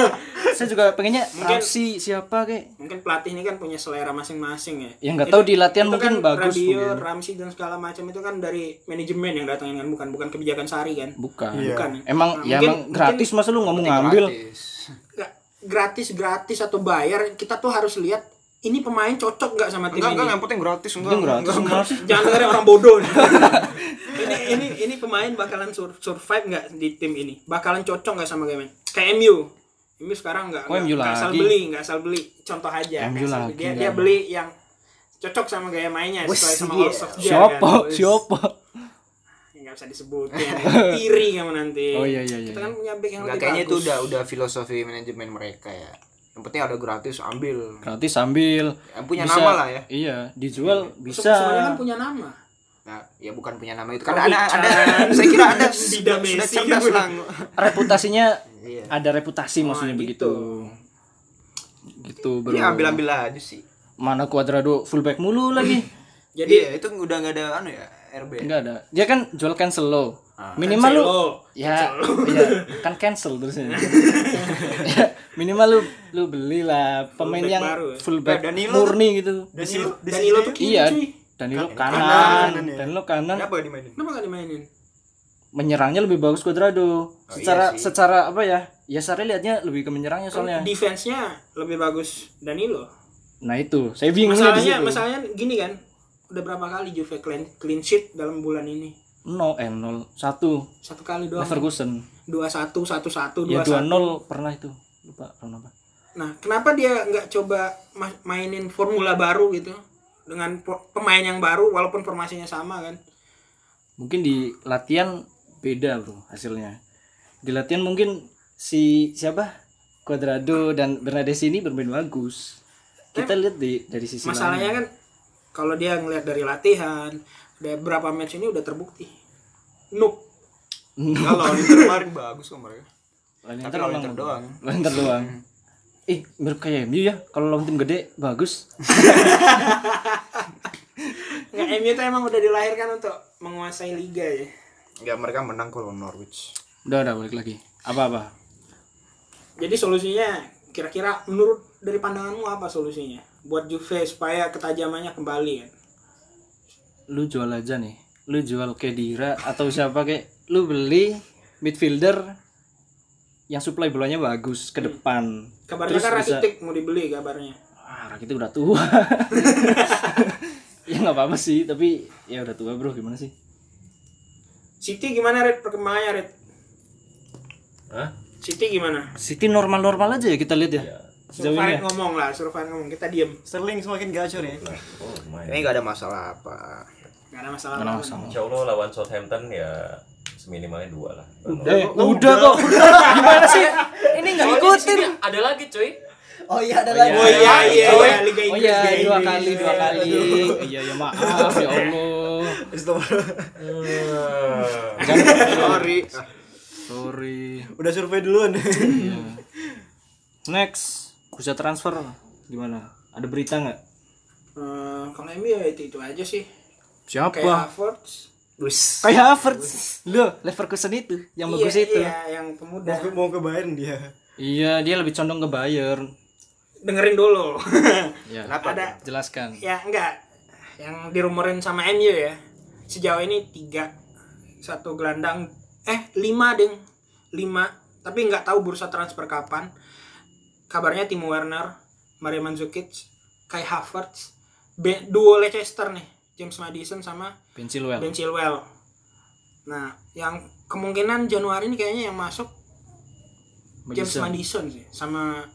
[laughs] saya juga pengennya Mungkin- Rapsi siapa kayak mungkin pelatih ini kan punya selera masing-masing ya. Ya, nggak tahu Itu- di latihan itu mungkin kan bagus Radio, mungkin. Ramsey dan segala macam itu kan dari manajemen yang datangin kan bukan bukan kebijakan Sari kan. bukan. Bukan. Emang Nah, ya mungkin- emang gratis masa lu ngomong ngambil. Gratis. Nggak, gratis gratis atau bayar kita tuh harus lihat ini pemain cocok nggak sama tim Enggak, ini. enggak, yang penting gratis enggak. Itu gratis semua sih. Jangan dengerin orang bodoh. nih. ini ini ini pemain bakalan sur- survive nggak di tim ini? Bakalan cocok nggak sama game Kayak MU. MU sekarang nggak Kok nggak- MU nggak asal Oh, lagi? beli, nggak asal beli. Contoh aja. MU nggak asal beli. lagi, Dia, ya. dia beli yang cocok sama gaya mainnya Wes, sesuai sama iya. all soft dia, Siapa? kan. Wes. Siapa? Ya, nggak bisa disebutin. Tiri kamu nanti. [laughs] Oh, iya, iya, iya. Kita kan punya back yang Enggak lebih kayaknya itu bagus. udah udah filosofi manajemen mereka ya. Yang penting ada gratis ambil. Gratis sambil Yang punya nama lah ya. Iya, dijual bisa. Semuanya kan punya nama. Nah, ya bukan punya nama itu. Karena Robbie ada ada Chan. saya kira [laughs] ada Dida sudah Messi. cerdas lang. Reputasinya [laughs] Iya. ada reputasi maksudnya gitu. begitu. Gitu, Bro. Ini ambil-ambil aja sih. Mana Cuadrado fullback mulu [laughs] lagi. Jadi Iya, itu udah enggak ada anu ya, RB. Enggak ada. Dia kan jual cancel lo. Minimal lu Cancelo. ya [laughs] iya, kan cancel terusnya. Ya, minimal lu lu belilah pemain Fullback yang baru ya. fullback Nah, Danilo murni gitu. Danilo. Danilo tuh kiri Iya, cuy. Danilo kanan, kanan, kanan ya. Danilo kanan, Kenapa dimainin? Kenapa nggak dimainin? menyerangnya lebih bagus Cuadrado. iya secara sih. secara apa ya? Ya Sari lihatnya lebih ke menyerangnya soalnya. Kan defense-nya lebih bagus Danilo. Nah itu, saya bingung di Masalahnya situ. masalahnya gini kan. Udah berapa kali Juve clean, clean sheet dalam bulan ini? Nol, eh nol satu Satu kali doang. Leverkusen. 2-1, 1-1, 2-1. Ya dua nol pernah itu. Lupa tahun apa. Nah, kenapa dia nggak coba ma- mainin formula baru gitu? Dengan po- pemain yang baru walaupun formasinya sama kan. Mungkin di latihan beda bro hasilnya. Di latihan mungkin si siapa? Cuadrado dan Bernadesi ini bermain bagus. Kita lihat di dari sisi Masalahnya lain. kan kalau dia ngelihat dari latihan, ada berapa match ini udah terbukti. Noob. Kalau Inter kemarin bagus kok mereka. Lawan Tapi Inter lawan memang Inter doang. Lawan Inter kan [laughs] doang. Ih, mirip kayak MU ya. Kalau lawan tim gede bagus. Nggak, MU itu emang udah dilahirkan untuk menguasai liga ya. Ya mereka menang kalau Norwich. Udah, udah balik lagi. Apa-apa? Jadi solusinya kira-kira menurut dari pandanganmu apa solusinya buat Juve supaya ketajamannya kembali kan? Lu jual aja nih. Lu jual Kedira atau siapa kayak lu beli midfielder yang supply bolanya bagus Hmm. ke depan. Kabarnya Terus kan bisa- Rakitic mau dibeli kabarnya. Ah, Rakitic udah tua. [laughs] ya nggak apa-apa sih, tapi ya udah tua, Bro. Gimana sih? City gimana Red perkembangannya Red? Hah? City gimana? City normal-normal aja ya kita lihat ya. Suruh Sejauh ini. Farid ya. ngomong lah, suruh Farid ngomong. Kita diem, Sterling semakin gacor ya. Oh, lumayan. Ini nggak ada masalah apa. nggak ada masalah. Nggak langsung. Insya Allah lawan Southampton ya seminimalnya dua lah. Eh, udah kok. Gimana sih? Ini nggak ikutin. Ada lagi cuy. Oh iya ada lagi. Oh iya, iya, iya, Liga Oh Inggris. iya, Liga dua Inggris. kali, dua kali. Iya, ya maaf ya Allah. Sorry. Ah, Sorry. Udah survei duluan. [laughs] Next, bisa transfer gimana? Ada berita nggak? Eh, kalau MU ya itu itu aja sih. Kayak Siapa? Havertz. Wis. Kayak Havertz. Loh, Leverkusen itu yang bagus Iya, itu. Iya, yang pemuda. Mau ke, mau ke Bayern dia. Iya, dia lebih condong ke Bayern. Dengerin dulu. [laughs] Ya, Kenapa? ada jelaskan. ya enggak yang dirumorin sama MU ya sejauh ini tiga satu gelandang eh lima ding lima tapi nggak tahu bursa transfer kapan kabarnya Tim Werner Mario Mandzukic Kai Havertz Be- duo Leicester nih James Madison sama Ben Chilwell. Ben Chilwell nah yang kemungkinan Januari ini kayaknya yang masuk James Madison. Madison sih sama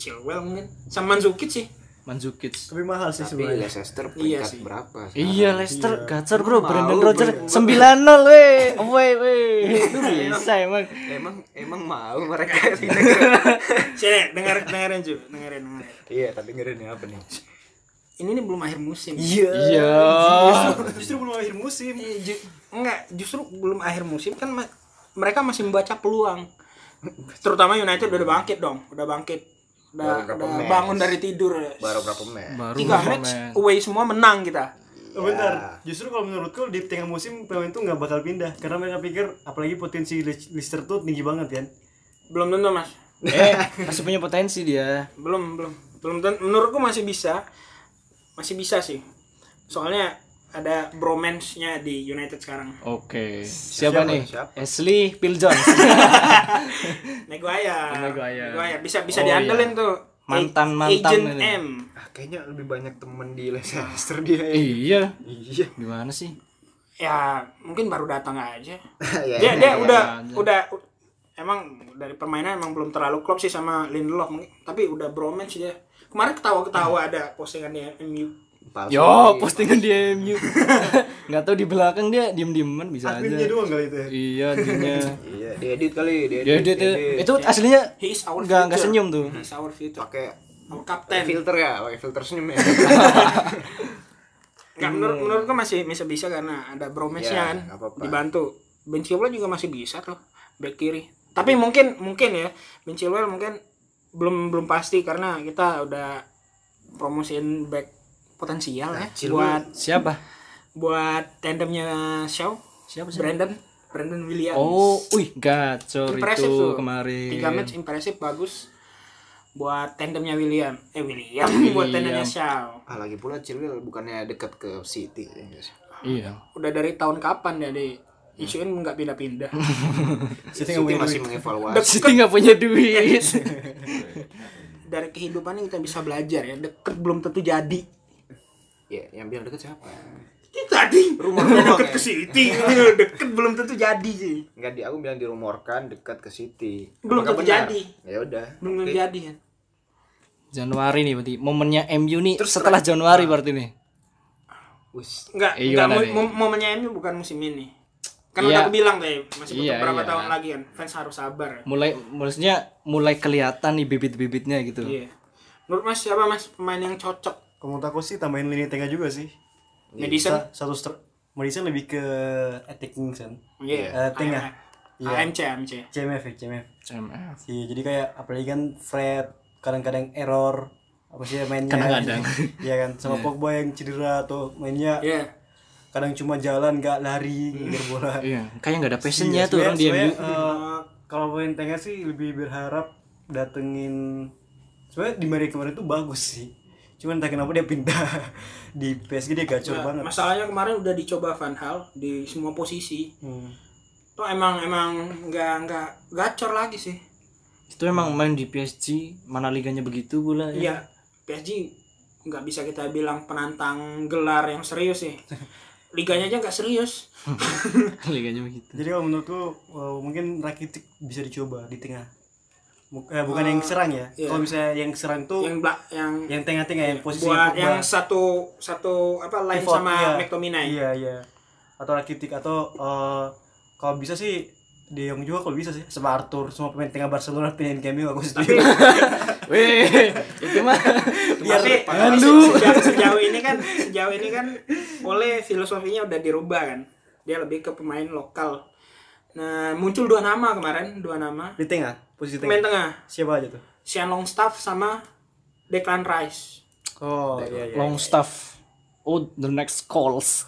Chilwell mungkin sama Mandzukic sih Mandzukic. Tapi mahal sih Tapi sebenarnya. Leicester Iya peringkat sih. berapa? sekarang? Iya, Leicester gacor bro, Mau, Brandon bro. Roger 9-0 weh. Weh weh. Itu bisa emang. Emang emang mau mereka pindah ke- [laughs] Sini, dengerin dengerin Ju, dengerin dengerin. Iya, tapi dengerin ya apa nih? Ini nih belum akhir musim. Iya. [laughs] Justru belum akhir musim. Eh, ju- enggak, justru belum akhir musim kan ma- mereka masih membaca peluang. Terutama United udah bangkit dong, udah bangkit. Baru Udah, berapa udah match? bangun dari tidur. Baru berapa match? Baru Tiga main. match away semua menang kita. Oh, Bentar, justru kalau menurutku di tengah musim pemain itu nggak bakal pindah karena mereka pikir apalagi potensi Leic- Leicester tuh tinggi banget kan. Belum tentu, Mas. eh masih punya potensi dia belum belum belum ten- menurutku masih bisa masih bisa sih soalnya ada bromance-nya di United sekarang oke siapa, Siapa? nih Siapa? Ashley Phil Jones Maguire Oh, Maguire. Maguire. bisa bisa Oh, diandelin iya. tuh Mantan-mantan agent ini. M Ah, kayaknya lebih banyak temen di Leicester dia. ya. [laughs] iya Iya. gimana sih ya mungkin baru datang aja dia Ya, Iya, ya, dia ya. udah aja. udah emang dari permainan emang belum terlalu klop sih sama Lindelof mungkin tapi udah bromance dia kemarin Hmm. ketawa-ketawa ada postingan di MU Palsu yo lagi. postingan di MU [laughs] nggak tahu di belakang dia diem dieman bisa Adminnya aja doang kali itu ya. iya [laughs] adminnya Iya, diedit kali, diedit. dia, dia, dia- itu aslinya he is our nggak nggak future. senyum tuh he is our future pakai our captain filter ya, pakai filter senyum ya. Nggak, Hmm. menurut menurutku masih bisa bisa karena ada bromance Ya, kan nggak apa-apa. dibantu Ben Chilwell juga masih bisa tuh back kiri tapi mungkin mungkin ya Ben Chilwell mungkin belum belum pasti karena kita udah promosiin back potensial ya buat siapa buat tandemnya Shaw siapa sih Brandon Brandon Williams oh wih gacor Impresif itu tuh. kemarin tiga match impresif bagus buat tandemnya William eh William, buat tandemnya Shaw ah, lagi pula Chilwell bukannya dekat ke City. iya udah dari tahun kapan ya di isuin nggak [laughs] pindah-pindah City, masih mengevaluasi. Siti nggak punya duit [laughs] dari kehidupan yang kita bisa belajar ya deket belum tentu jadi Ya, yang bilang dekat siapa? tadi rumahnya Rumah, deket ya? ke [laughs] City deket belum tentu jadi sih Enggak di aku bilang dirumorkan dekat ke City. Belum tentu Apakah benar? jadi. Ya udah. belum tentu jadi kan Januari nih berarti momennya MU nih setelah Januari berarti nih Wis. nggak Iya, nggak udah mo- deh. mo- momennya MU bukan musim ini kan Iya. udah aku bilang deh masih butuh Iya, berapa iya. tahun lagi kan fans harus sabar mulai maksudnya mulai kelihatan nih bibit-bibitnya gitu iya menurut mas siapa mas pemain yang cocok Kalau menurut aku sih tambahin lini tengah juga sih. Madison Sa- Satu str- Madison lebih ke attacking kan. Iya, Eh, Iya. tengah. AM- AMC, AMC. CMF ya, CMF. CMF. Iya, jadi kayak apalagi kan Fred kadang-kadang error apa sih ya mainnya Kadang-kadang. Iya kan sama Pogba yang cedera atau mainnya Iya. kadang cuma jalan nggak lari ngejar bola Iya, kayak nggak ada passionnya Iya, tuh orang di sebenarnya- MU. sebenarnya, eh, kalau pemain tengah sih lebih berharap datengin sebenarnya di Maria kemarin tuh bagus sih cuman entah kenapa dia pindah [laughs] di PSG dia gacor Nah, banget Masalahnya kemarin udah dicoba Van Hal di semua posisi. Hmm. Tuh emang emang nggak nggak gacor lagi sih. Itu emang main di PSG, mana liganya begitu pula ya. Iya, PSG nggak bisa kita bilang penantang gelar yang serius [laughs] sih. Liganya aja nggak serius. [laughs] liganya begitu. jadi kalau menurutku eh, mungkin Rakitic bisa dicoba di tengah Mu- eh, bukan yang serang ya iya. kalau misalnya yang serang tuh Yang belak yang, yang tengah-tengah yang posisi buat yang satu satu apa lain Pivot, sama iya. McTominay. Iya, iya. Atau Rakitic atau eh, kalau bisa sih De Jong juga kalau bisa sih sama Arthur semua pemain tengah Barcelona pindahin ke MU aku setuju. Weh, itu mah tapi tapi se- sejauh, sejauh ini kan sejauh ini kan oleh filosofinya udah dirubah kan dia lebih ke pemain lokal nah muncul dua nama kemarin dua nama di tengah posisi pemain tengah. tengah Siapa aja tuh? Sean Longstaff sama Declan Rice Oh iya iya. long staff. Oh, the next calls.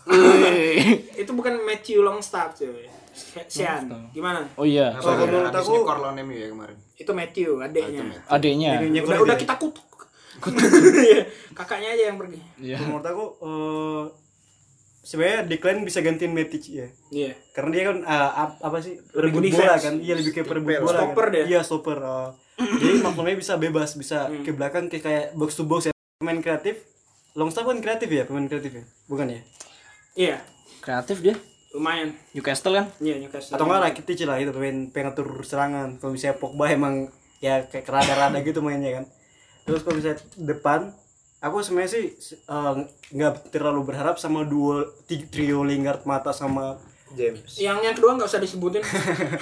itu bukan Matthew Longstaff cuy Se- Sean gimana Oh iya, Apa kalau ya? menurut Habis aku- nyekor lawan MU ya kemarin. Ah, itu Matthew adiknya adiknya. Yang udah kulit udah ya. kita kutuk [laughs] Iya, kakaknya aja yang pergi Iya. menurut aku eh, sebenarnya Declan bisa gantiin Matic ya. iya Karena dia kan eh, ap- apa sih? Lebih Perebut defense. bola kan. Iya lebih kayak perebut bola. Stopper kan. dia. Iya, stopper. eh. [clears throat] jadi maklumnya bisa bebas, bisa ke belakang kayak kayak box to box ya. Pemain kreatif. Longstaff kan kreatif ya, pemain kreatif ya. Bukan ya? iya Kreatif dia. lumayan Newcastle kan? iya Newcastle atau enggak Rakitic lah gitu, itu pemain pengatur serangan kalau misalnya Pogba emang ya kayak kerada-rada gitu mainnya kan terus kalau misalnya depan aku sebenarnya sih se- eh, nggak terlalu berharap sama duo ti- trio Lingard mata sama James. yang yang kedua nggak usah disebutin [laughs]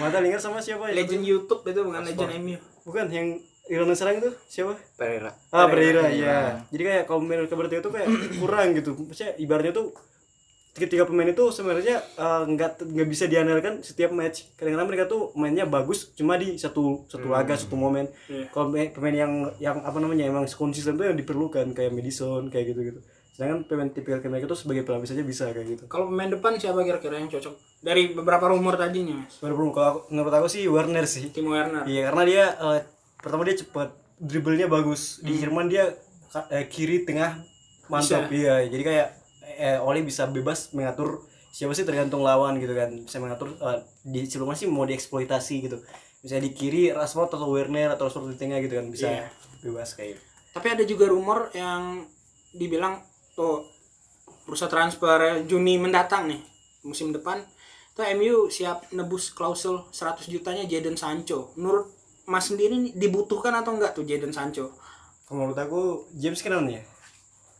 mata Lingard sama siapa ya legend YouTube itu bukan legend MU bukan yang Irlanda serang itu siapa Pereira. ah Pereira ya jadi kayak kalau menurut kabar itu kayak kurang gitu maksudnya ibaratnya tuh ketiga pemain itu sebenarnya eh, nggak nggak bisa diandalkan setiap match kadang-kadang mereka tuh mainnya bagus cuma di satu satu laga satu momen Iya. kalau pemain pemain yang yang apa namanya emang konsisten tuh yang diperlukan kayak Madison kayak gitu gitu sedangkan pemain tipikal kayak mereka tuh sebagai pelapis aja bisa kayak gitu Kalau pemain depan siapa kira-kira yang cocok dari beberapa rumor tadinya, Mas? baru kalau aku- menurut aku sih Warner sih Timo Werner. Iya karena dia eh, pertama dia cepat dribblenya bagus di Jerman dia ka- eh, kiri tengah mantap iya jadi kayak eh, Oli bisa bebas mengatur siapa sih tergantung lawan gitu kan bisa mengatur eh, di sebelumnya sih mau dieksploitasi gitu misalnya di kiri Rashford atau Werner atau Rashford di tengah gitu kan bisa Iya. bebas kayak gitu. Tapi ada juga rumor yang dibilang tuh bursa transfer Juni mendatang nih musim depan tuh MU siap nebus klausul 100 jutanya Jadon Sancho. Menurut Mas sendiri nih, dibutuhkan atau enggak tuh Jadon Sancho? Kalau menurut aku James kanan ya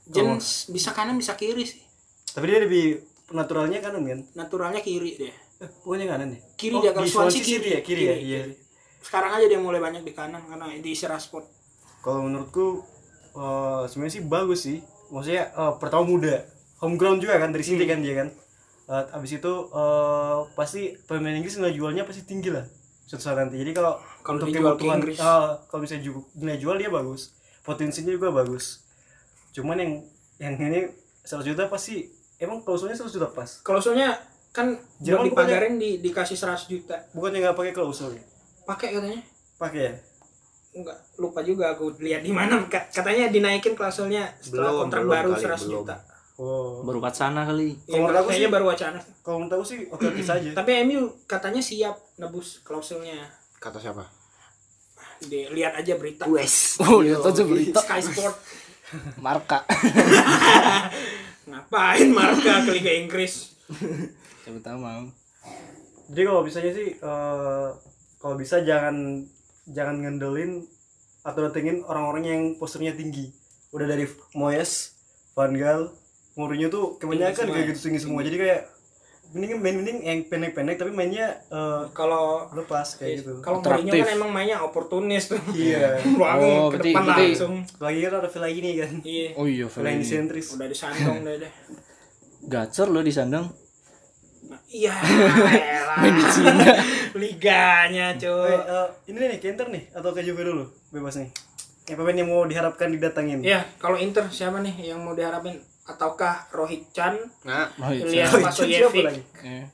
James bisa kanan bisa kiri sih. tapi dia lebih naturalnya kanan kan Naturalnya kiri deh. eh, pokoknya kanan deh Kiri Oh, dia kalau di Swansea Swansea kiri. City ya kiri, ya iya Sekarang aja dia mulai banyak di kanan karena diisi Rashford. kalau menurutku eh, sebenarnya sih bagus sih maksudnya eh, pertama muda homegrown juga kan dari City Hmm. kan dia kan Eh, abis itu eh, pasti pemain Inggris nilai jualnya pasti tinggi lah suatu saat nanti jadi kalau Kalau untuk dijual ke kebutuhan- Inggris. eh, kalau misalnya ju- nilai jual dia bagus potensinya juga bagus cuman yang yang ini 100 juta pasti emang klausulnya 100 juta pas Klausulnya kan belum Jerman dipagarin di, dikasih 100 juta. bukannya nggak pakai klausul ya? Pakai katanya. pakai ya Enggak, lupa juga aku lihat di mana Ka- katanya dinaikin klausulnya setelah Belum, kontrak belum baru kali, 100 belum. juta. oh baru wacana kali Ya, Kalau menurut aku kayaknya sih- baru wacana. kalau menurut aku sih oke [clears throat] oke saja Tapi MU katanya siap nebus klausulnya. Kata siapa? Di- lihat aja berita. Wes. oh lihat Iya, aja berita Sky Sport. marka Ngapain marka ke Liga Inggris? siapa tahu mau jadi kalau bisanya sih eh, kalau bisa jangan jangan ngendelin atau datengin orang-orang yang posturnya tinggi udah dari Moyes Van Gaal Mourinho tuh kebanyakan semua kayak ya? gitu tinggi semua jadi kayak mending main mending yang pendek-pendek tapi mainnya eh, Kalau lepas kayak gitu kalau Mourinho Atraktif. kan emang mainnya oportunis tuh. [laughs] iya Bangun ke berarti- depan berarti- langsung. lagi kan ada Villa ini kan Iya. oh iya Villa ini Feli. sentris Udah disandong deh deh. gacor lo di sandang Nah, [laughs] Iya. elah. Liganya, Eh, cuy. eh, ini nih Kenter nih atau ke Juve dulu bebas nih yang pemain yang mau diharapkan didatangin Ya, kalau Inter siapa nih yang mau diharapin? Ataukah Rohit Chan, Nah, oh Ilya iya Oh, itu siapa lagi? Pasojevic, Eh,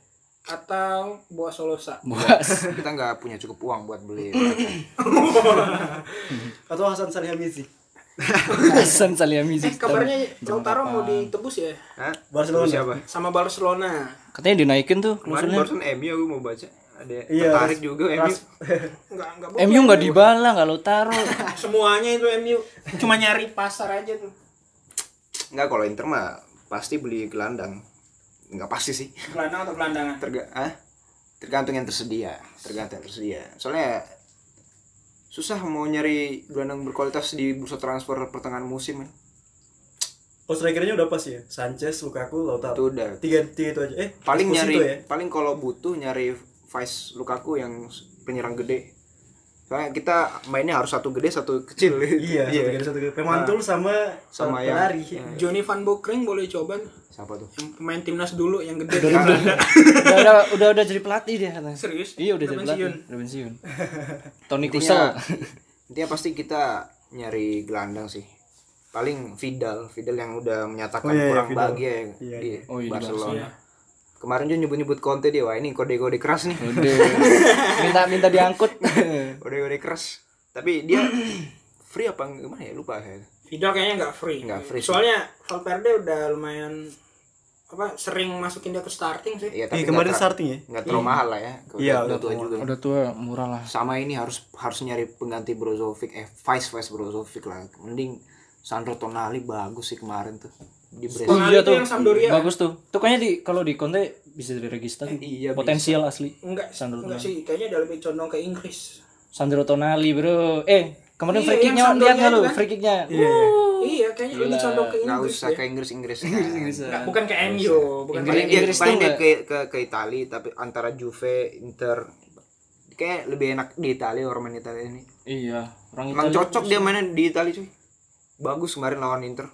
atau Boa Solosa? buas [laughs] kita nggak punya cukup uang buat beli. Iya. mereka. atau Hasan Salihamidzic Hasan Saliamizi Eh, kabarnya Lautaro mau ditebus ya Hah? Barcelona. Lu siapa? sama Barcelona. katanya dinaikin tuh Kemarin klausulnya barusan MU aku mau baca ada Iya, tertarik Ras- juga MU. Ras- Enggak, enggak bukan. MU nggak dibala nggak lo taruh Semuanya itu MU cuma nyari pasar aja tuh. Enggak kalau Inter mah pasti beli gelandang. Enggak pasti sih. Gelandang atau gelandangan? Terga ah? Tergantung yang tersedia, tergantung yang tersedia. Soalnya susah mau nyari gelandang berkualitas di bursa transfer pertengahan musim kan. Oh strikernya udah pas ya, Sanchez, Lukaku, Lautaro. Itu udah Tiga tiga itu aja. Eh paling nyari Esposito ya. paling kalau butuh nyari Vice Lukaku yang penyerang gede. Soalnya kita mainnya harus satu gede satu kecil. Iya, satu kali satu kali. Pemantul sama Nah. eh, Sama ya. Iya. yang- pelari. [laughs] Johnny Van Bokring boleh coba nih. Siapa tuh? yang pemain timnas dulu yang gede. udah, udah udah udah jadi pelatih dia katanya Serius? iya udah Udah jadi pensiun? pelatih udah pensiun Tony Intinya- Kusel Intinya pasti kita nyari gelandang sih. Paling Vidal, Vidal yang udah menyatakan Oh, iya, iya, kurang Vidal. bahagia ya Iya, di Oh, iya, di Barcelona. Kemarin juga nyebut-nyebut Conte dia, wah ini kode-kode keras nih. Udah. minta minta diangkut Kode-kode keras. Tapi dia free apa enggak? gimana ya? Lupa saya. Vidal kayaknya nggak free. Nggak free sih. Soalnya Valverde udah lumayan apa sering masukin dia ke starting sih. Iya, Iya, tapi kemarin nggak ter- starting ya. nggak terlalu mahal lah ya. Iya, Udah udah tua tua. juga. udah tua murah lah Sama ini harus harus nyari pengganti Brozovic, eh Vice Vice Brozovic lah. Mending Sandro Tonali bagus sih kemarin tuh di Brescia. Tonali itu yang Sampdoria. Iya Eh, bagus tuh tuh kayaknya di kalau di Conte bisa diregister iya, potensial asli Enggak, Sandro enggak Tonali. sih, kayaknya dia lebih condong ke Inggris. Sandro Tonali bro eh kemarin Iya, free yang kicknya Sampdoria lihat nggak lu itu kan? free kicknya Iya, kayaknya lebih condong ke ya? Nggak Inggris. usah deh. ke [laughs] Inggris-Inggris. Inggris. Nggak, bukan ke MU, bukan Iya. ke paling dia, Inggris tuh paling dia nggak- ke, ke ke Itali tapi antara Juve Inter kayak lebih enak di Itali orang main Itali ini iya orang emang Italia. cocok dia mainnya di Itali cuy bagus kemarin lawan Inter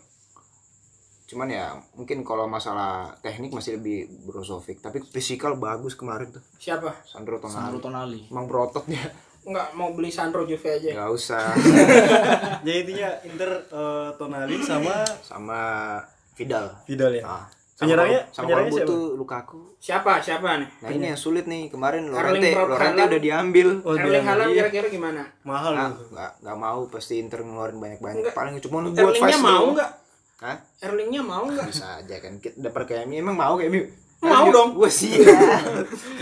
cuman ya mungkin kalau masalah teknik masih lebih Brozovic tapi fisikal bagus kemarin tuh Siapa? Sandro Sandro Tonali Tonali emang berotot dia Enggak mau beli Sandro Juve aja. nggak usah Jadi intinya Inter eh, Tonali sama sama Vidal. Vidal ya. Nah, Penyerangnya- sama penyerangnya Kolbu siapa? tuh Lukaku. Siapa? Siapa nih? Nah ini yang sulit nih kemarin Erling Lorente, Braut Lorente Haaland. udah diambil. Oh, Erling Dylan, Haaland iya. kira-kira gimana? Mahal gitu. Nah, loh. nggak nggak mau pasti Inter ngeluarin banyak banyak. Nggak. Paling cuma buat Erlingnya Faisal. mau nggak? Hah? Erlingnya mau nggak? Bisa aja kan. Kita dapat kayak Mi. emang mau kayak Mi. Mau Iya. dong. Gue sih. ya.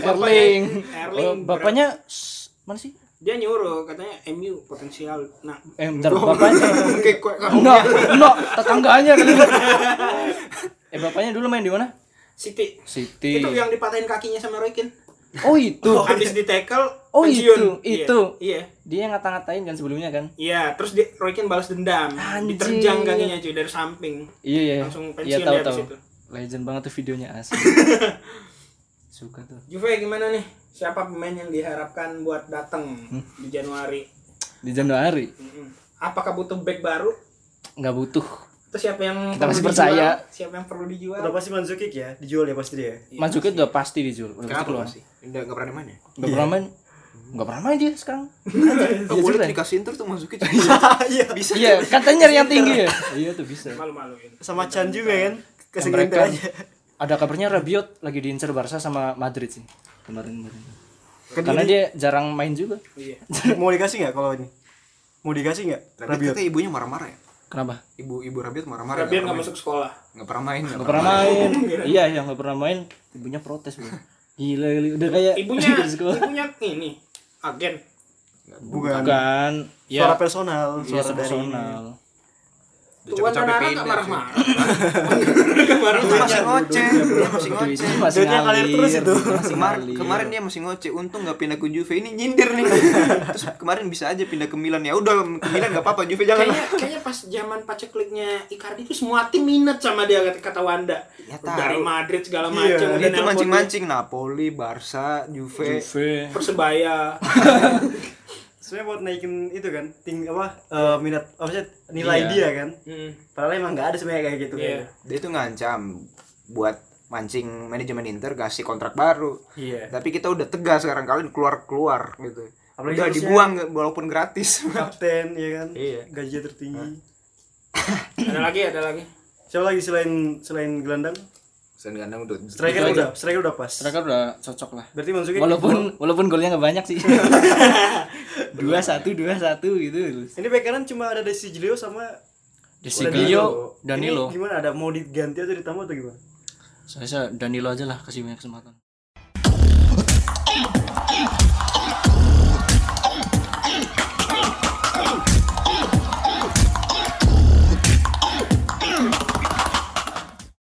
Erling. Erling Oh, bapaknya s- mana sih? dia nyuruh katanya MU potensial. Nah, Eh, bentar, [laughs] bapaknya. Oke, kok No, no, tetangganya kan. eh, bapaknya dulu main di mana? City. City. Itu yang dipatahin kakinya sama Roy Keane. Oh, itu. Habis di tackle, Oh, pensiun. itu, Iya, itu. Iya. Dia yang ngata-ngatain kan sebelumnya kan? Iya, terus dia, Roy Keane balas dendam. Anjing. Diterjang kakinya cuy dari samping. Iya, iya. Langsung Iya, pensiun tahu dia habis tahu. itu. Legend banget tuh videonya [laughs] asli. Suka tuh. Juve gimana nih? Siapa pemain yang diharapkan buat datang Hmm. di Januari? Di Januari Mm-mm. Apakah butuh back baru? nggak butuh. Atau siapa yang Kita perlu masih dijual? percaya. Siapa yang perlu dijual? Udah pasti Mandzukic ya, dijual ya pasti dia. Masuknya udah pasti dijual. Udah pasti keluar. sih? Enggak enggak pernah main ya? Enggak pernah main. Enggak pernah main dia [laughs] sekarang. Oh, Iya, kulit juga. dikasih Inter tuh masukin. Bisa. Iya, katanya nyari yang tinggi ya. Iya tuh bisa. Malu-maluin. Sama Iya. Chan juga kan. Dan Kasih mereka Inter aja. ada kabarnya Rabiot lagi diincar Barca sama Madrid sih kemarin kemarin. Karena dia jarang main juga. Iya. [laughs] Mau dikasih nggak kalau ini? Mau dikasih nggak? Rabiot Rabiot. kayak ibunya marah-marah ya. Kenapa? Ibu ibu Rabiot marah-marah. Rabiot nggak masuk sekolah. Enggak pernah main. Enggak Gak pernah main. iya, iya gak pernah main. Ibunya protes bro. Gila, gila. [laughs] udah kayak Ibunya, [laughs] dari sekolah. ibunya ini agen. Bukan. Bukan. Ya, Suara personal, iya, suara dari personal. Tuan dan Ara nggak [laughs] marah-marah. marah Iya. Masih ngoceh. Dia Masih ngoceh. Itu masih Duitnya ngalir ngalir terus itu. Masih Kemar- ngalir. kemarin dia masih ngoceh untung nggak pindah ke Juve ini nyindir nih terus kemarin bisa aja pindah ke Milan ya udah ke Milan nggak apa-apa Juve jangan kayaknya kayaknya pas zaman pacekliknya Icardi itu semua tim minat sama dia kata, kata Wanda Iya, Ya, tahu. dari Madrid segala Iya, macam Dia udah tuh nelpon mancing-mancing Napoli, Barca, Juve. Juve. dia, persebaya Sebenarnya buat naikin itu kan, ting apa eh, minat apa sih nilai Iya. dia kan. Hmm. Padahal emang nggak ada sebenarnya kayak gitu. Iya. Iya. Dia tuh ngancam buat mancing manajemen Inter kasih kontrak baru. Iya. Tapi kita udah tegas sekarang kalian keluar-keluar gitu. Apalagi udah harusnya- dibuang walaupun [laughs] gratis. Kapten ya kan. Iya. Gajinya tertinggi. ada lagi ada lagi Siapa lagi selain selain gelandang? Sen Gandang udah Striker Itu aja. udah, striker udah pas. Striker udah cocok lah. Berarti Mandzukic Walaupun walaupun golnya gak banyak sih. [laughs] dua satu dua satu gitu. ini back kanan cuma ada Desi Jilio sama Desigio, Danilo. Ini gimana ada mau diganti atau ditambah atau gimana? Saya saya Danilo aja lah kasih banyak kesempatan.